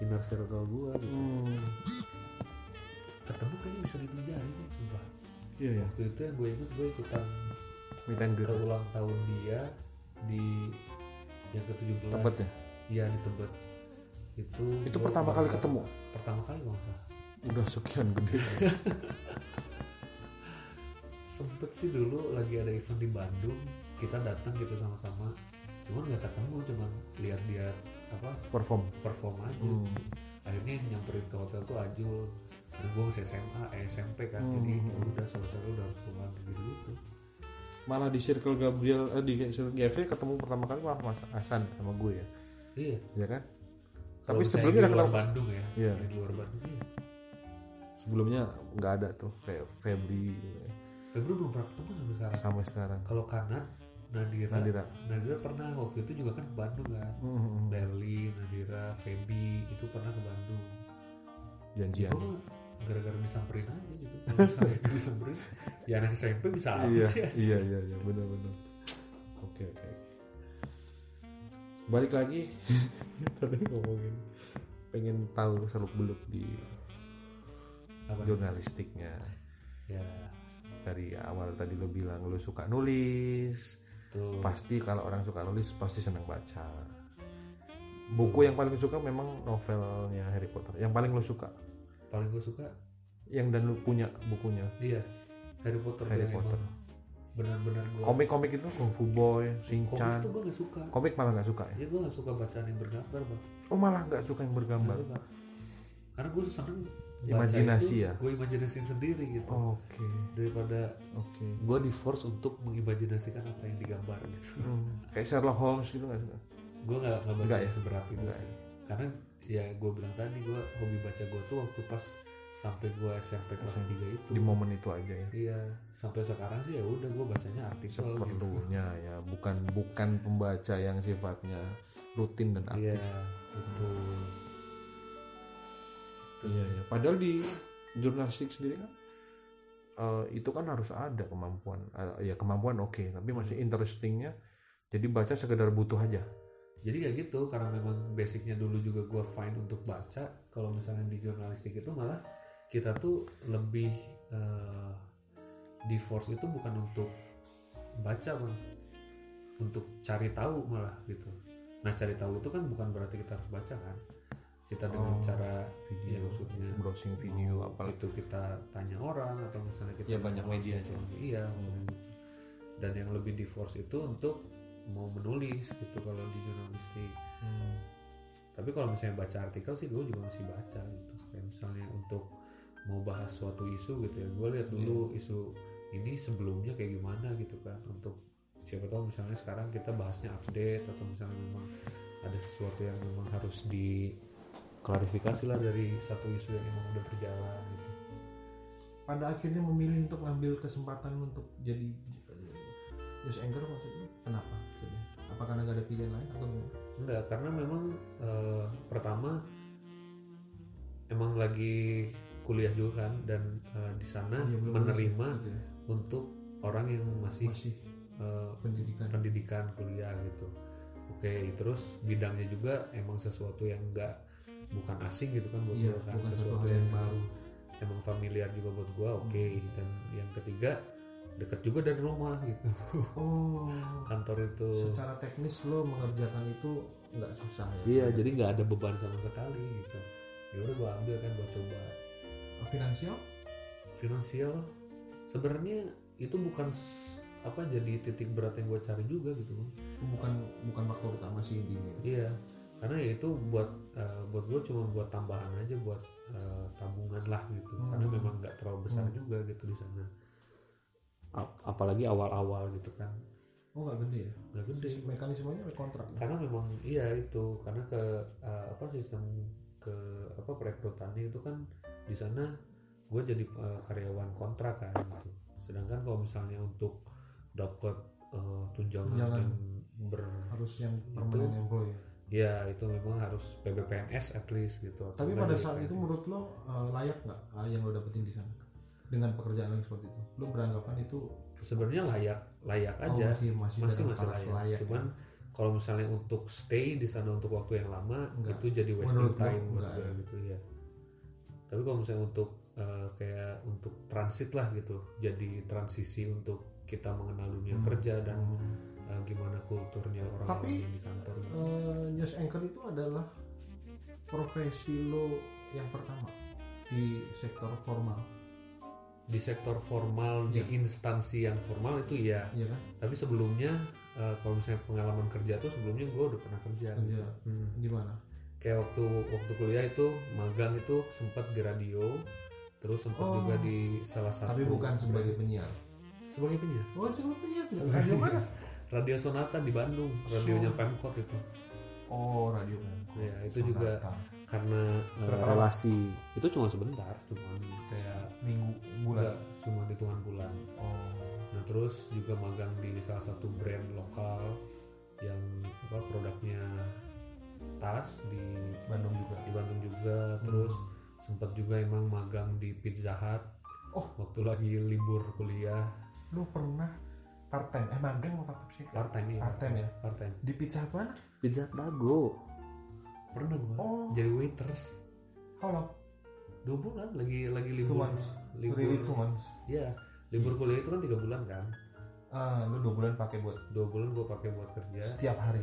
B: inner circle gue. Gitu.
A: Hmm,
B: Ketemu kayaknya bisa gitu jari nih, sumpah.
A: iya ya
B: Waktu itu yang gue ikut gue ikutan
A: Gitu. meet and greet
B: ke ulang tahun dia di yang ke-17
A: Tebet ya?
B: Iya di Tebet itu
A: itu
B: gua
A: pertama kali ketemu
B: pertama kali gak salah
A: udah sekian gede *laughs*
B: sempet sih dulu lagi ada event di Bandung kita datang gitu sama-sama cuman nggak ketemu cuman lihat dia apa
A: perform
B: perform aja akhirnya yang nyamperin ke hotel tuh Ajul karena gue masih SMA eh, SMP kan jadi ya udah sore-sore udah harus pulang gitu gitu
A: malah di circle Gabriel eh, di circle GV ketemu pertama kali malah Mas Hasan sama gue ya
B: iya
A: ya kan tapi
B: Kalau misalnya
A: sebelumnya
B: di
A: udah
B: luar
A: ketemu
B: Bandung ya
A: Iya.
B: di luar Bandung iya.
A: sebelumnya nggak ada tuh kayak Febri gitu ya.
B: Febri belum pernah ketemu sampai sekarang
A: sampai sekarang
B: kalau kanan Nadira, Nadira
A: Nadira
B: pernah waktu itu juga kan ke Bandung kan
A: Mhm.
B: Deli Nadira Feby itu pernah ke Bandung
A: janjian
B: Gua mah gara-gara disamperin aja gitu
A: *laughs*
B: kalau misalnya nggak disamperin ya anak SMP bisa
A: iya,
B: habis *laughs* ya
A: iya iya iya benar-benar oke oke balik lagi *laughs* tadi ngomongin pengen tahu seluk beluk di
B: Apa nih?
A: jurnalistiknya
B: ya
A: dari awal tadi lo bilang lo suka nulis
B: tuh
A: pasti kalau orang suka nulis pasti senang baca buku yang paling suka memang novelnya Harry Potter yang paling lo suka
B: paling gue suka
A: yang dan lo punya bukunya
B: iya Harry Potter tuh
A: Harry
B: yang
A: Potter
B: emang benar-benar gue
A: komik-komik itu Kung Fu Boy
B: komik
A: Shinchan
B: tuh gue gak suka
A: komik malah nggak suka ya
B: ya gue gak suka bacaan yang bergambar bang
A: oh malah nggak suka yang
B: Nggak
A: bergambar
B: suka. karena gue seneng
A: Imajinasi ya? Oh.
B: gue imajinasi sendiri gitu
A: oke
B: daripada
A: oke
B: gue di force untuk mengimajinasikan apa yang digambar
A: *laughs*
B: gitu
A: Hmm, kayak Sherlock Holmes gitu nggak suka
B: gue nggak nggak baca
A: Nggak ya?
B: seberat itu
A: Nggak
B: sih karena ya gue bilang tadi gue hobi baca gue tuh waktu pas sampai gue SMP kelas
A: SMP.
B: 3 itu
A: di momen itu aja ya
B: iya sampai sekarang sih ya udah gue bacanya artikel gitu
A: seperlunya ya bukan bukan pembaca yang sifatnya rutin dan
B: iya
A: aktif
B: itu Gitu.
A: Iya, iya. Padahal di jurnalistik sendiri kan eh, itu kan harus ada kemampuan. Eh, ya kemampuan oke, tapi masih interestingnya. Jadi baca sekedar butuh aja.
B: jadi kayak gitu karena memang basicnya dulu juga gue fine untuk baca kalau misalnya di jurnalistik itu malah kita tuh lebih eh, di force itu bukan untuk baca bang untuk cari tahu malah gitu nah cari tahu itu kan bukan berarti kita harus baca kan kita dengan
A: Oh,
B: cara ya
A: Video,
B: maksudnya
A: browsing video,
B: mau
A: apalagi
B: itu kita tanya orang atau misalnya kita
A: Ya, banyak media
B: informasi orang. iya maksudnya gitu. dan yang lebih di force itu untuk mau menulis gitu kalau di jurnalistik
A: Hmm.
B: tapi kalau misalnya baca artikel sih gue juga masih baca gitu kayak misalnya untuk mau bahas suatu isu gitu ya gue lihat dulu isu ini sebelumnya kayak gimana gitu kan untuk siapa tahu misalnya sekarang kita bahasnya update atau misalnya memang ada sesuatu yang memang harus diklarifikasi lah dari satu isu yang memang udah berjalan gitu.
A: Pada akhirnya memilih untuk ngambil kesempatan untuk jadi eh, news anchor maksudnya kenapa? Apa karena gak ada pilihan lain atau
B: Enggak, karena memang eh, pertama emang lagi kuliah juga kan dan eh, di sana
A: Iya,
B: menerima untuk orang yang
A: gitu ya.
B: masih
A: masih
B: eh,
A: pendidikan?
B: pendidikan kuliah gitu. Oke, terus bidangnya juga emang sesuatu yang enggak bukan asing gitu kan buat
A: Iya,
B: gua kan
A: bukan
B: sesuatu
A: sesuatu hal yang
B: emang-
A: baru. Hmm.
B: emang familiar juga buat gua. Oke, dan yang ketiga deket juga dari rumah gitu. *laughs*
A: Oh,
B: Kantor itu
A: secara teknis lo mengerjakan itu nggak susah ya?
B: Iya, jadi nggak ada beban sama sekali gitu. Ya udah gue ambil kan buat coba.
A: Finansial?
B: Finansial sebenarnya itu bukan s- apa jadi titik berat yang gue cari juga gitu. Bang.
A: bukan bukan faktor utama sih intinya
B: Iya, karena ya itu buat eh, buat gue cuma buat tambahan aja buat eh, tabungan lah gitu.
A: Hmm.
B: Karena memang nggak terlalu besar
A: Hmm.
B: juga gitu di sana. Ap- apalagi awal-awal gitu kan
A: oh nggak gede ya
B: nggak gede.
A: Jadi mekanismenya ada kontrak ya?
B: Nah, karena memang iya itu karena ke eh, apa sistem ke apa perekrutannya itu kan di sana gue jadi eh, karyawan kontrak kan gitu sedangkan kalau misalnya untuk dapat eh, tunjangan,
A: Tunjangan.
B: yang ber
A: harus yang permanent employee ya?
B: ya itu memang harus PBPNS at least gitu
A: tapi
B: Atau
A: pada
B: nggak
A: saat
B: jadi
A: itu
B: PNS.
A: menurut lo eh, layak nggak eh, yang lo dapetin di sana dengan pekerjaan yang seperti itu lo beranggapan itu
B: sebenarnya layak layak
A: oh,
B: aja
A: masih masih
B: masih
A: dalam
B: masih
A: taraf
B: layak. cuman
A: ya?
B: kalau misalnya untuk stay di sana untuk waktu yang lama
A: Enggak.
B: itu jadi wasting
A: Menurut gua
B: time buat
A: enggak
B: gue
A: ya.
B: gitu ya tapi kalau misalnya untuk eh, kayak untuk transit lah gitu jadi transisi untuk kita mengenal dunia
A: Hmm.
B: kerja dan eh, gimana kulturnya orang orang
A: Tapi,
B: di kantor gitu.
A: Eh, news anchor itu adalah profesi lo yang pertama di sektor formal
B: di sektor formal
A: Iya.
B: di instansi yang formal itu ya
A: iya kan
B: tapi sebelumnya eh, kalau misalnya pengalaman kerja tuh sebelumnya gue udah pernah kerja
A: kerja
B: Hmm.
A: di mana
B: kayak waktu waktu kuliah itu magang itu sempat di radio terus sempat
A: Oh.
B: juga di salah satu
A: tapi bukan sebagai penyiar
B: sebagai penyiar
A: oh cuma penyiar di mana
B: radio sonata di Bandung radionya
A: So-
B: Pemkot itu
A: Oh, radio Menko.
B: Iya, itu
A: Sonata.
B: juga karena eh,
A: Berapa lama?
B: relasi itu cuma sebentar cuma kayak hitungan bulan
A: Oh,
B: nah terus juga magang di salah satu brand lokal yang apa produknya tas di
A: Bandung juga.
B: di Bandung juga
A: Hmm.
B: terus sempat juga emang magang di Pizza Hut
A: Oh.
B: waktu lagi libur kuliah
A: Lu pernah part time? Eh magang apa part time sih?
B: part time ya
A: Part time ya?
B: part time
A: Di pizza Hut mana?
B: Pizza Hut Dago pernah gua
A: Oh.
B: jadi waiters
A: How long?
B: dua bulan lagi lagi
A: Two
B: libur
A: months.
B: libur
A: Really two months.
B: ya libur kuliah itu kan tiga bulan kan
A: Ah, lu dua bulan pakai buat
B: dua bulan gue pakai buat kerja
A: setiap hari.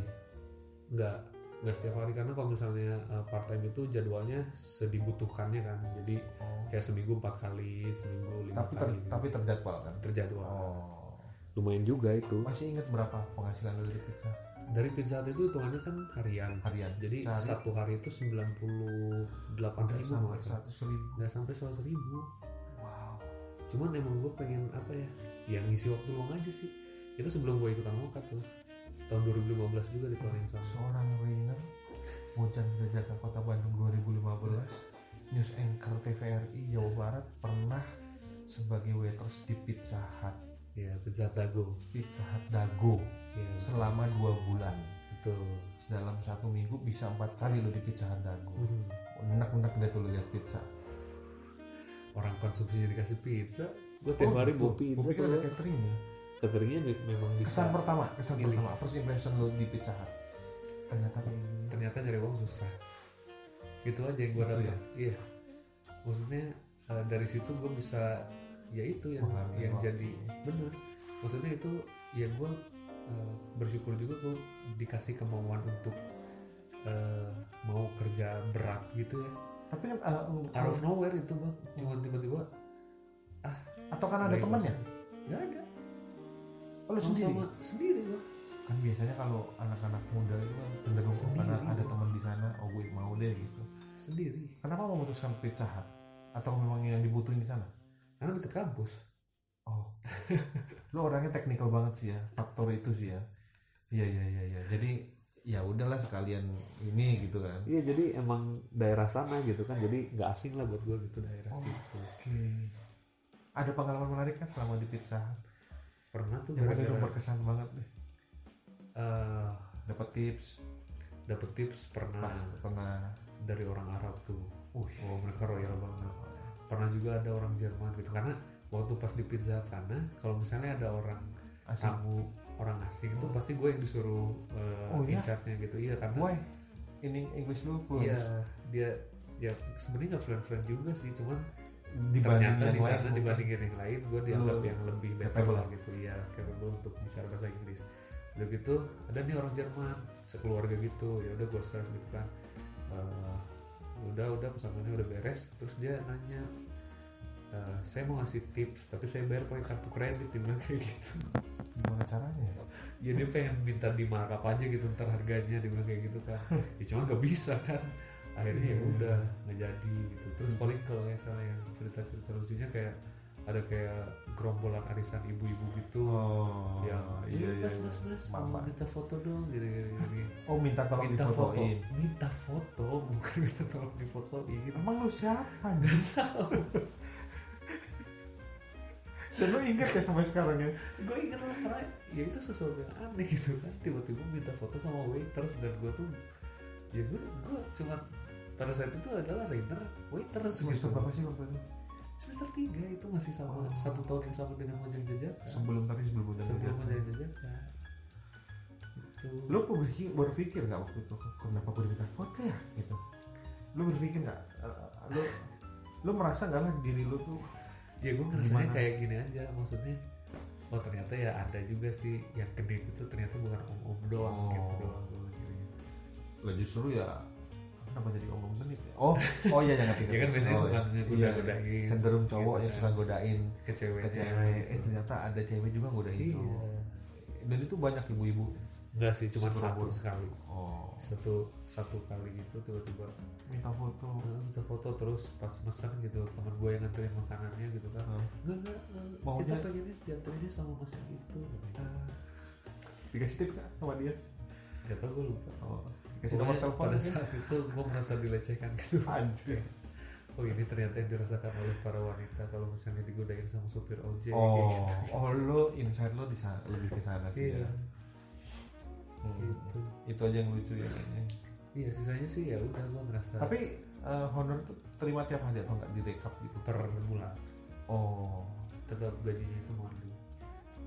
B: nggak nggak setiap hari karena kalau misalnya uh, part time itu jadwalnya sedibutuhkannya kan jadi kayak seminggu empat kali seminggu lima
A: Tapi ter,
B: kali gitu.
A: tapi terjadwal kan.
B: terjadwal
A: Oh.
B: lumayan juga itu
A: Masih ingat berapa penghasilan lu dari pizza
B: dari pizza Hut itu hitungannya kan harian
A: harian?
B: jadi
A: sehari
B: satu hari itu 98
A: sampai
B: ribu
A: sampai
B: nggak salah.
A: seratus ribu.
B: nggak sampai 100 ribu
A: Wow.
B: cuman emang gue pengen apa ya yang ngisi waktu luang aja sih itu sebelum gue ikutan mokat tuh tahun 2015 juga di tahun yang sama
A: Seorang Rainer Mojang Jajaka Kota Bandung 2015 News Anchor TVRI Jawa Barat pernah sebagai waiters di Pizza Hut
B: ya pizza Hut dago
A: Pizza Hut Dago
B: ya
A: selama dua bulan
B: betul
A: dalam satu minggu bisa empat kali lo di Pizza Hut Dago
B: Hmm.
A: enak-enak deh tuh lo lihat pizza
B: orang konsumsinya dikasih pizza gue tiap hari bawa
A: gue Oh, gitu.
B: pizza
A: pikir
B: tuh
A: ada
B: ya.
A: cateringnya
B: Cateringnya me- memang bisa
A: kesan pertama kesan
B: Milih.
A: pertama first impression lo di Pizza Hut ternyata kayak gini
B: ternyata nyari uang susah gitu aja yang gue
A: Gitu
B: dapet iya maksudnya eh, dari situ gue bisa ya itu yang
A: Menghargai
B: yang
A: waktu.
B: jadi bener maksudnya itu ya gue eh, bersyukur juga gue dikasih kemauan untuk eh, mau kerja berat gitu ya
A: tapi kan uh,
B: out of nowhere itu bang cuma tiba-tiba
A: atau kan ada
B: Baik,
A: temannya
B: nggak ada
A: lo sendiri
B: Sama-sama sendiri gue
A: kan biasanya kalau anak-anak muda itu kan cenderung oh,
B: Sendiri.
A: karena ada teman di sana oh gue mau deh gitu
B: sendiri
A: kenapa memutuskan pizza Hut? atau memang yang dibutuhin di sana
B: karena deket kampus
A: *laughs* oh lo orangnya teknikal banget sih ya faktor itu sih ya iya iya iya iya jadi ya udahlah sekalian ini gitu kan
B: Iya jadi emang daerah sana gitu kan jadi nggak asing lah buat gue gitu daerah
A: Oh.
B: situ.
A: oke ada pengalaman menarik kan selama di pizza Hut?
B: Pernah tuh
A: yang mana lo
B: gara-gara
A: berkesan banget deh
B: eh,
A: dapat tips
B: dapet tips pernah
A: pas pernah
B: dari orang Arab tuh.
A: uh
B: Hmm. Oh mereka royal banget. Pernah juga ada orang Jerman gitu karena waktu pas di pizza Hut sana kalau misalnya ada orang
A: asik
B: tamu orang asing itu pasti gue yang disuruh eh,
A: Oh, iya?
B: in charge-nya gitu iya karena
A: why ini English lu fluent
B: iya dia ya sebenarnya nggak friend friend juga sih cuman
A: dibanding
B: ternyata
A: yang
B: di
A: lain
B: sana
A: mungkin.
B: dibandingin yang lain gue dianggap
A: Lu
B: yang lebih better
A: capable.
B: lah gitu ya capable untuk bicara bahasa Inggris udah gitu ada nih orang Jerman sekeluarga gitu ya udah gue serve gitu kan Eh, udah udah pesanannya udah beres terus dia nanya eh, saya mau ngasih tips tapi saya bayar pakai kartu kredit dia bilang kayak gitu
A: gimana caranya
B: ya dia pengen minta di markup aja gitu ntar harganya dia bilang kayak gitu
A: *laughs*
B: kan ya cuma gak bisa kan
A: Hmm.
B: akhirnya ya udah nggak jadi gitu terus paling kalau kayak salah yang cerita cerita lucunya kayak ada kayak gerombolan arisan ibu-ibu gitu
A: oh
B: yang "Eh,
A: iya iya
B: mas mas mas mau
A: Mama.
B: minta foto dong gitu gitu, gitu.
A: oh minta *laughs* tolong
B: minta foto
A: difotoin
B: minta foto *laughs* bukan minta tolong difotoin
A: emang lu siapa nih dan lu inget ya sampai sekarang ya
B: gue inget lah karena ya itu sesuatu yang aneh gitu kan tiba-tiba minta foto sama waiters dan gue tuh ya gue gue cuma pada saat itu adalah Rainer waiters
A: semester
B: gitu
A: berapa sih waktu itu
B: semester 3 itu masih sama
A: Oh.
B: satu tahun yang kan? sama dengan Mojang Jajaka
A: sebelum tapi sebelum udah
B: sebelum
A: menikah.
B: Mojang Jajaka kan? itu
A: lu berpikir berpikir nggak waktu itu kenapa gue minta foto ya gitu lu berpikir nggak Eh, lu lu merasa nggak lah diri lu tuh
B: ya gue ngerasanya
A: Gimana?
B: kayak gini aja maksudnya oh ternyata ya ada juga sih yang gede itu ternyata bukan om-om doang
A: Oh.
B: gitu doang gue mikirnya.
A: lah justru ya kenapa jadi omong genit ya? oh oh iya jangan
B: *laughs* ya kan biasanya
A: Oh,
B: suka
A: iya.
B: goda-godain
A: Iya, cenderung cowok
B: gitu
A: yang
B: kan.
A: suka godain
B: ke ceweknya
A: ke cewek eh ternyata ada cewek juga godain
B: Iya.
A: cowok dan itu banyak ibu-ibu
B: Enggak sih, cuma satu
A: Seberapa?
B: sekali.
A: oh
B: Satu satu kali gitu tiba-tiba
A: minta foto
B: "Eh, minta foto terus pas pesan gitu teman gue yang nganterin makanannya gitu kan.
A: Hah?
B: Enggak enggak eh,
A: Maunya-
B: kita pengennya dianterinnya sama mas yang itu.
A: Eh, dikasih tip kan sama dia
B: Gak tau gue lupa.
A: oh dikasih nomor
B: Pokoknya
A: telepon
B: pada
A: kan?
B: saat itu gue merasa dilecehkan gitu.
A: anjir
B: oh ini ternyata yang dirasakan oleh para wanita kalau misalnya digodain sama supir ojek
A: oh oh lo insight lo di sana lebih ke sana sih
B: gitu. iya
A: ya Hmm.
B: gitu
A: itu aja yang lucu ya kayaknya.
B: iya sisanya sih ya udah gua ngerasa
A: tapi eh, honor tuh terima tiap hari atau nggak direkap gitu
B: per bulan
A: oh
B: tetap gajinya itu monthly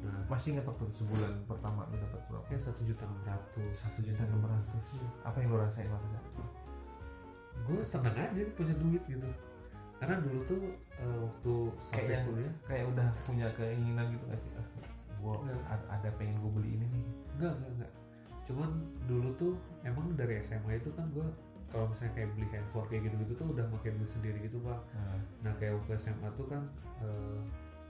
B: nah
A: masih ngetok tuh sebulan pertama lo dapat berapa
B: kayak satu juta enam ratus
A: satu juta enam ratus apa yang lo rasain waktu itu
B: gue seneng aja punya duit gitu karena dulu tuh eh, waktu sampai
A: Kayak yang-
B: kuliah
A: kayak udah punya keinginan gitu nggak sih ah, gua
B: Nggak.
A: a- ada pengen gue beli ini nih
B: enggak enggak enggak cuman dulu tuh emang dari SMA itu kan gue kalau misalnya kayak beli handphone kayak gitu-gitu tuh udah pakai duit sendiri gitu bang
A: Nah,
B: nah kayak waktu SMA tuh kan eh,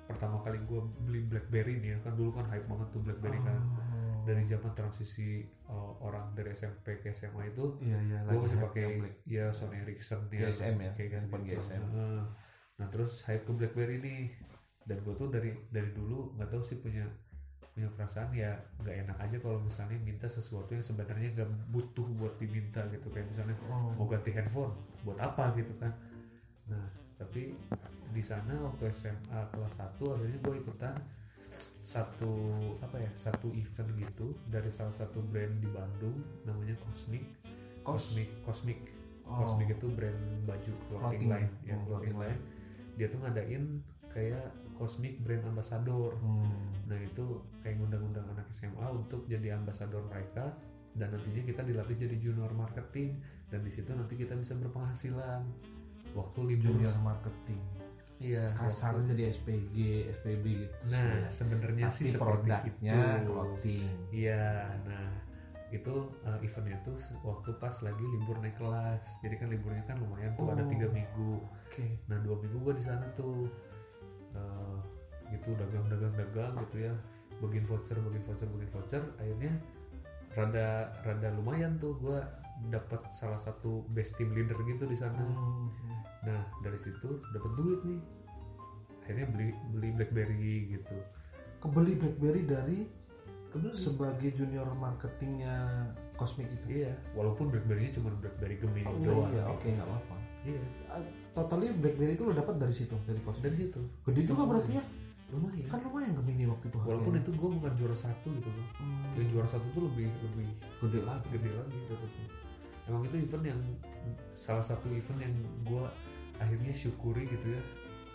B: pertama kali gue beli BlackBerry nih ya, kan dulu kan hype banget tuh BlackBerry kan
A: oh.
B: dari zaman transisi eh, orang dari SMP ke SMA itu
A: iya iya
B: gue masih
A: hype
B: pakai
A: yang Black.
B: ya Sony Ericsson ya
A: GSM ya,
B: kayak gitu,
A: handphone GSM.
B: nah terus hype ke BlackBerry nih dan gue tuh dari dari dulu nggak tahu sih punya punya perasaan ya nggak enak aja kalau misalnya minta sesuatu yang sebenarnya nggak butuh buat diminta gitu kayak misalnya
A: Oh.
B: mau ganti handphone buat apa gitu kan nah tapi di sana waktu SMA kelas 1 akhirnya gue ikutan satu apa ya satu event gitu dari salah satu brand di Bandung namanya Cosmic
A: kos
B: Cosmic Cosmic
A: Oh.
B: Cosmic itu brand baju clothing
A: Clothing line.
B: line ya
A: Oh,
B: clothing
A: clothing
B: line dia tuh ngadain kayak Cosmic brand ambassador
A: Hmm.
B: nah itu kayak ngundang-undang anak SMA untuk jadi ambasador mereka dan nantinya kita dilatih jadi junior marketing dan di situ nanti kita bisa berpenghasilan waktu libur
A: junior marketing
B: iya
A: kasar
B: waktu-
A: jadi SPG SPB gitu
B: nah
A: sih.
B: sebenarnya
A: pasti
B: sih seperti
A: produknya
B: itu
A: clothing
B: Iya, nah itu eh, eventnya tuh se- waktu pas lagi libur naik kelas, jadi kan liburnya kan lumayan tuh ada
A: Oh.
B: tiga minggu.
A: oke
B: Nah dua minggu gue di sana tuh eh, gitu dagang-dagang-dagang gitu ya, bagiin voucher, bagiin voucher, bagiin voucher. Akhirnya rada rada lumayan tuh gue dapat salah satu best team leader gitu di sana.
A: Hmm.
B: Nah dari situ dapat duit nih, akhirnya beli beli BlackBerry gitu.
A: kebeli BlackBerry dari
B: Kemudian
A: sebagai junior marketingnya Cosmic itu
B: Iya, walaupun BlackBerry-nya cuma BlackBerry Gemini
A: Oh,
B: doang.
A: iya oke nggak apa-apa
B: Iya,
A: Ah, totalnya BlackBerry itu lo dapat dari situ dari Cosmic
B: dari situ.
A: gede juga
B: Semuanya.
A: berarti ya
B: Lumayan.
A: kan ya. lumayan Gemini waktu itu
B: walaupun
A: harganya.
B: itu gue bukan juara satu gitu loh.
A: Hmm,
B: Yang juara satu tuh lebih lebih
A: gede lagi
B: gede lagi dapatnya. Emang itu event yang salah satu event yang gue akhirnya syukuri gitu ya.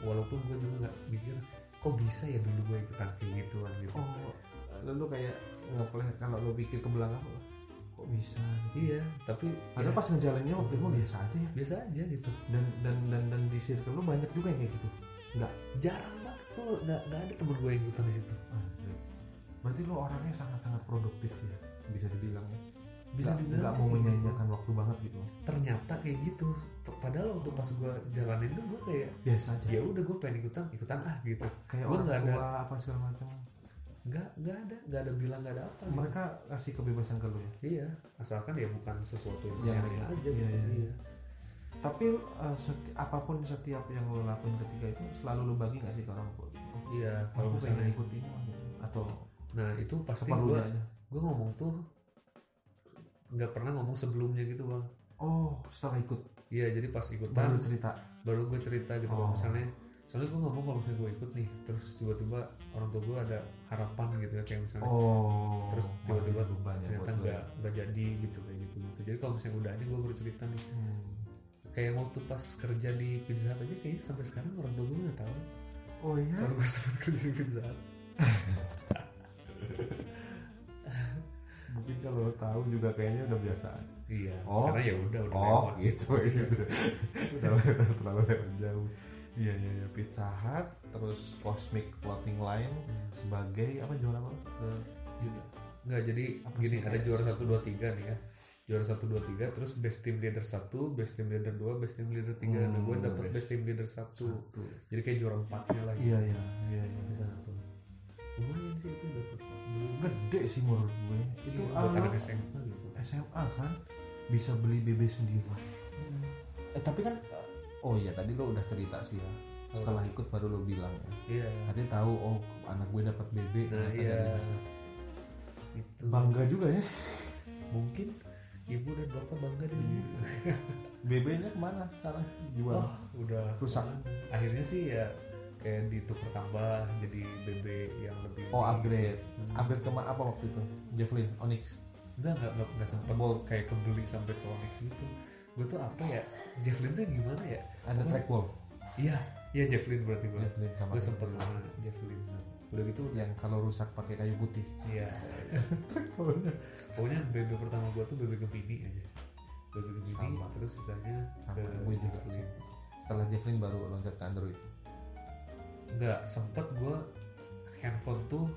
B: Walaupun gue juga nggak mikir kok bisa ya dulu gue ikutan kayak gituan gitu.
A: oh lalu kayak ngepleh kalau lo pikir ke belakang kok bisa
B: Iya, tapi ya,
A: Padahal pas ngejalaninnya waktu itu mah biasa aja ya.
B: biasa aja gitu.
A: Dan dan dan dan di circle lu banyak juga yang kayak gitu. Enggak.
B: Jarang banget kok nggak nggak ada temen gue yang ikutan di situ.
A: Berarti lu orangnya sangat-sangat produktif ya. Bisa dibilang ya.
B: Bisa
A: Nggak-
B: dibilang
A: nggak
B: sih
A: mau
B: kayak gitu.
A: menyanyiakan waktu banget gitu.
B: ternyata kayak gitu P- padahal waktu pas gue jalanin tuh gue kayak
A: Biasa aja.
B: ya udah gue pengen ikutan ikutan ah gitu
A: Kayak
B: Gua
A: orang
B: nggak ada-
A: tua apa segala macam.
B: nggak nggak ada nggak ada bilang nggak ada apa gitu.
A: Mereka kasih kebebasan ke lu ya.
B: iya asalkan ya bukan sesuatu yang
A: Yang
B: aneh
A: negatif.
B: aja
A: Iya,
B: gitu.
A: iya.
B: Iya.
A: Tapi eh, seti- apapun setiap yang lu lakuin ketika itu selalu lu bagi nggak sih ke orang tua?
B: iya kalau
A: Aku pengen
B: misalnya
A: ikutin atau
B: nah itu pasti gue
A: seperlunya aja.
B: gue ngomong tuh nggak pernah ngomong sebelumnya gitu bang
A: Oh, setelah ikut
B: iya jadi pas ikutan
A: baru cerita.
B: baru gue cerita gitu kalau
A: Oh.
B: misalnya soalnya gue ngomong kalau misalnya gue ikut nih terus tiba-tiba orang tua gue ada harapan gitu ya kayak misalnya
A: Oh,
B: terus tiba-tiba
A: malah beban ya buat
B: ternyata
A: lu ya.
B: nggak nggak jadi gitu kayak gitu gitu jadi kalau misalnya udah ada gue baru cerita nih
A: Hmm.
B: kayak waktu pas kerja di pizza hut aja kayaknya sampai sekarang orang tua gue nggak tahu
A: Oh iya.
B: kalau gue sempat kerja di pizza hut
A: Mungkin kalau tahu juga kayaknya udah biasa aja.
B: iya
A: Oh.
B: karena ya udah udah lewat
A: gitu gitu. udah lewat, terlalu lewat jauh. Iya iya iya Pizza Hut terus Cosmic Clothing Line sebagai apa juara apa? The-
B: nggak jadi
A: Apa
B: gini
A: sih,
B: ada
A: kayak
B: juara
A: sistem?
B: satu dua tiga nih ya juara satu dua tiga terus best team leader satu best team leader dua best team leader tiga
A: Hmm,
B: nah gue dapet
A: best.
B: best team leader satu jadi kayak juara empatnya gitu. lagi
A: Iya iya iya iya.
B: di sana tuh lumayan sih itu dapet
A: Gede sih menurut gue. Itu
B: Iya, buat
A: awal
B: anak SMA gitu
A: SMA kan bisa beli BB sendiri. Eh tapi kan eh, oh iya tadi lo udah cerita sih ya. Setelah ikut baru lo bilang ya.
B: iya
A: Berarti tahu oh anak gue dapat BB
B: Nah
A: ternyata
B: iya
A: dari Pizza Hut.
B: itu
A: Bangga juga ya.
B: mungkin ibu dan bapak bangga dengan ibu.
A: BB-nya kemana sekarang? Gimana?
B: Wah, udah
A: Rusak.
B: Akhirnya sih ya kayak ditukar tambah jadi BB yang lebih
A: Oh, upgrade. Upgrade kemana apa waktu itu? Javelin, Onyx.
B: Enggak, enggak, enggak, enggak sempet kayak kebeli sampai ke Onyx gitu Gue tuh apa ya, Javelin tuh gimana ya?
A: Ada
B: Apa?
A: trackball.
B: Iya, iya Javelin berarti gue
A: Javelin sama
B: Gue sempet sama Javelin Udah gitu,
A: yang kalau rusak pakai kayu putih. *laughs*
B: iya
A: Trackballnya.
B: Pokoknya BB pertama gue tuh BB Gemini aja BB Gemini,
A: Sama.
B: terus sisanya
A: Sama,
B: ke
A: gue juga sih. Setelah Javelin baru loncat ke Android.
B: Enggak, sempet gue handphone tuh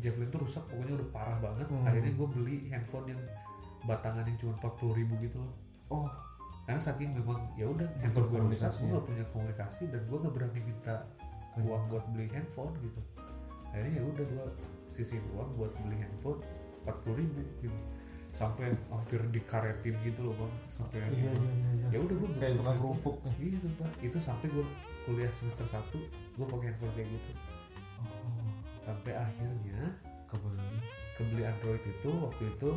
B: Javelin tuh rusak pokoknya udah parah banget
A: Hmm.
B: Akhirnya gue beli handphone yang batangan yang cuma 40 ribu gitu loh
A: Oh,
B: karena saking memang ya udah handphone gue rusak
A: komunikasinya.
B: gue
A: Hmm.
B: gak punya komunikasi dan gue gak berani minta uang buat beli handphone gitu akhirnya ya udah gue sisihin uang buat beli handphone 40.000 ribu gitu sampai hampir dikaretin gitu loh bang sampai
A: iya iya iya. iya.
B: ya udah gue
A: Kayak tukang kerupuk nih.
B: iya sumpah itu sampai gue kuliah semester 1 gue pakai handphone kayak gitu
A: Oh,
B: sampai akhirnya
A: kebeli.
B: kebeli Android itu waktu itu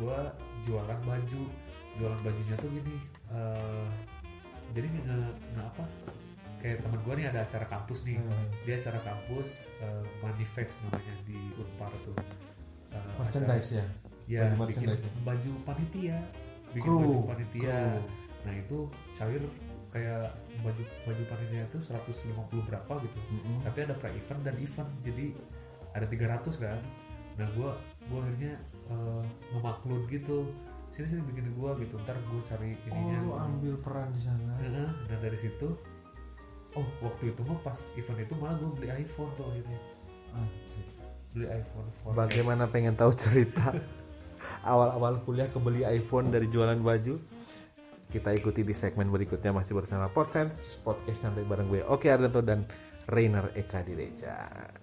B: gue jualan baju jualan bajunya tuh gini eh, jadi nge, nge- apa kayak teman gue nih ada acara kampus nih
A: Hmm.
B: dia acara kampus eh, manifest namanya di Unpar tuh Eh, acara-
A: Merchandise ya.
B: ya
A: baju
B: bikin
A: merchandise ya?
B: baju panitia bikin
A: Kru,
B: baju panitia
A: kru.
B: nah itu cair kayak baju baju panitia itu 150 berapa gitu
A: Mm-mm.
B: tapi ada pre event dan event jadi ada 300 kan nah gue gua akhirnya eh, ngemaklun gitu sini sini bikin gue gitu ntar gue cari
A: Oh,
B: ininya Hmm.
A: lu ambil peran di sana.
B: Heeh, dan dari situ oh waktu itu mah pas event itu malah gue beli iPhone tuh akhirnya
A: Anjir.
B: beli iPhone 4S.
A: Bagaimana pengen tahu cerita awal-awal kuliah kebeli iPhone dari jualan baju? Kita ikuti di segmen berikutnya masih bersama Podsense, podcast santai bareng gue Oke Ardanto dan Rainer Eka Direja.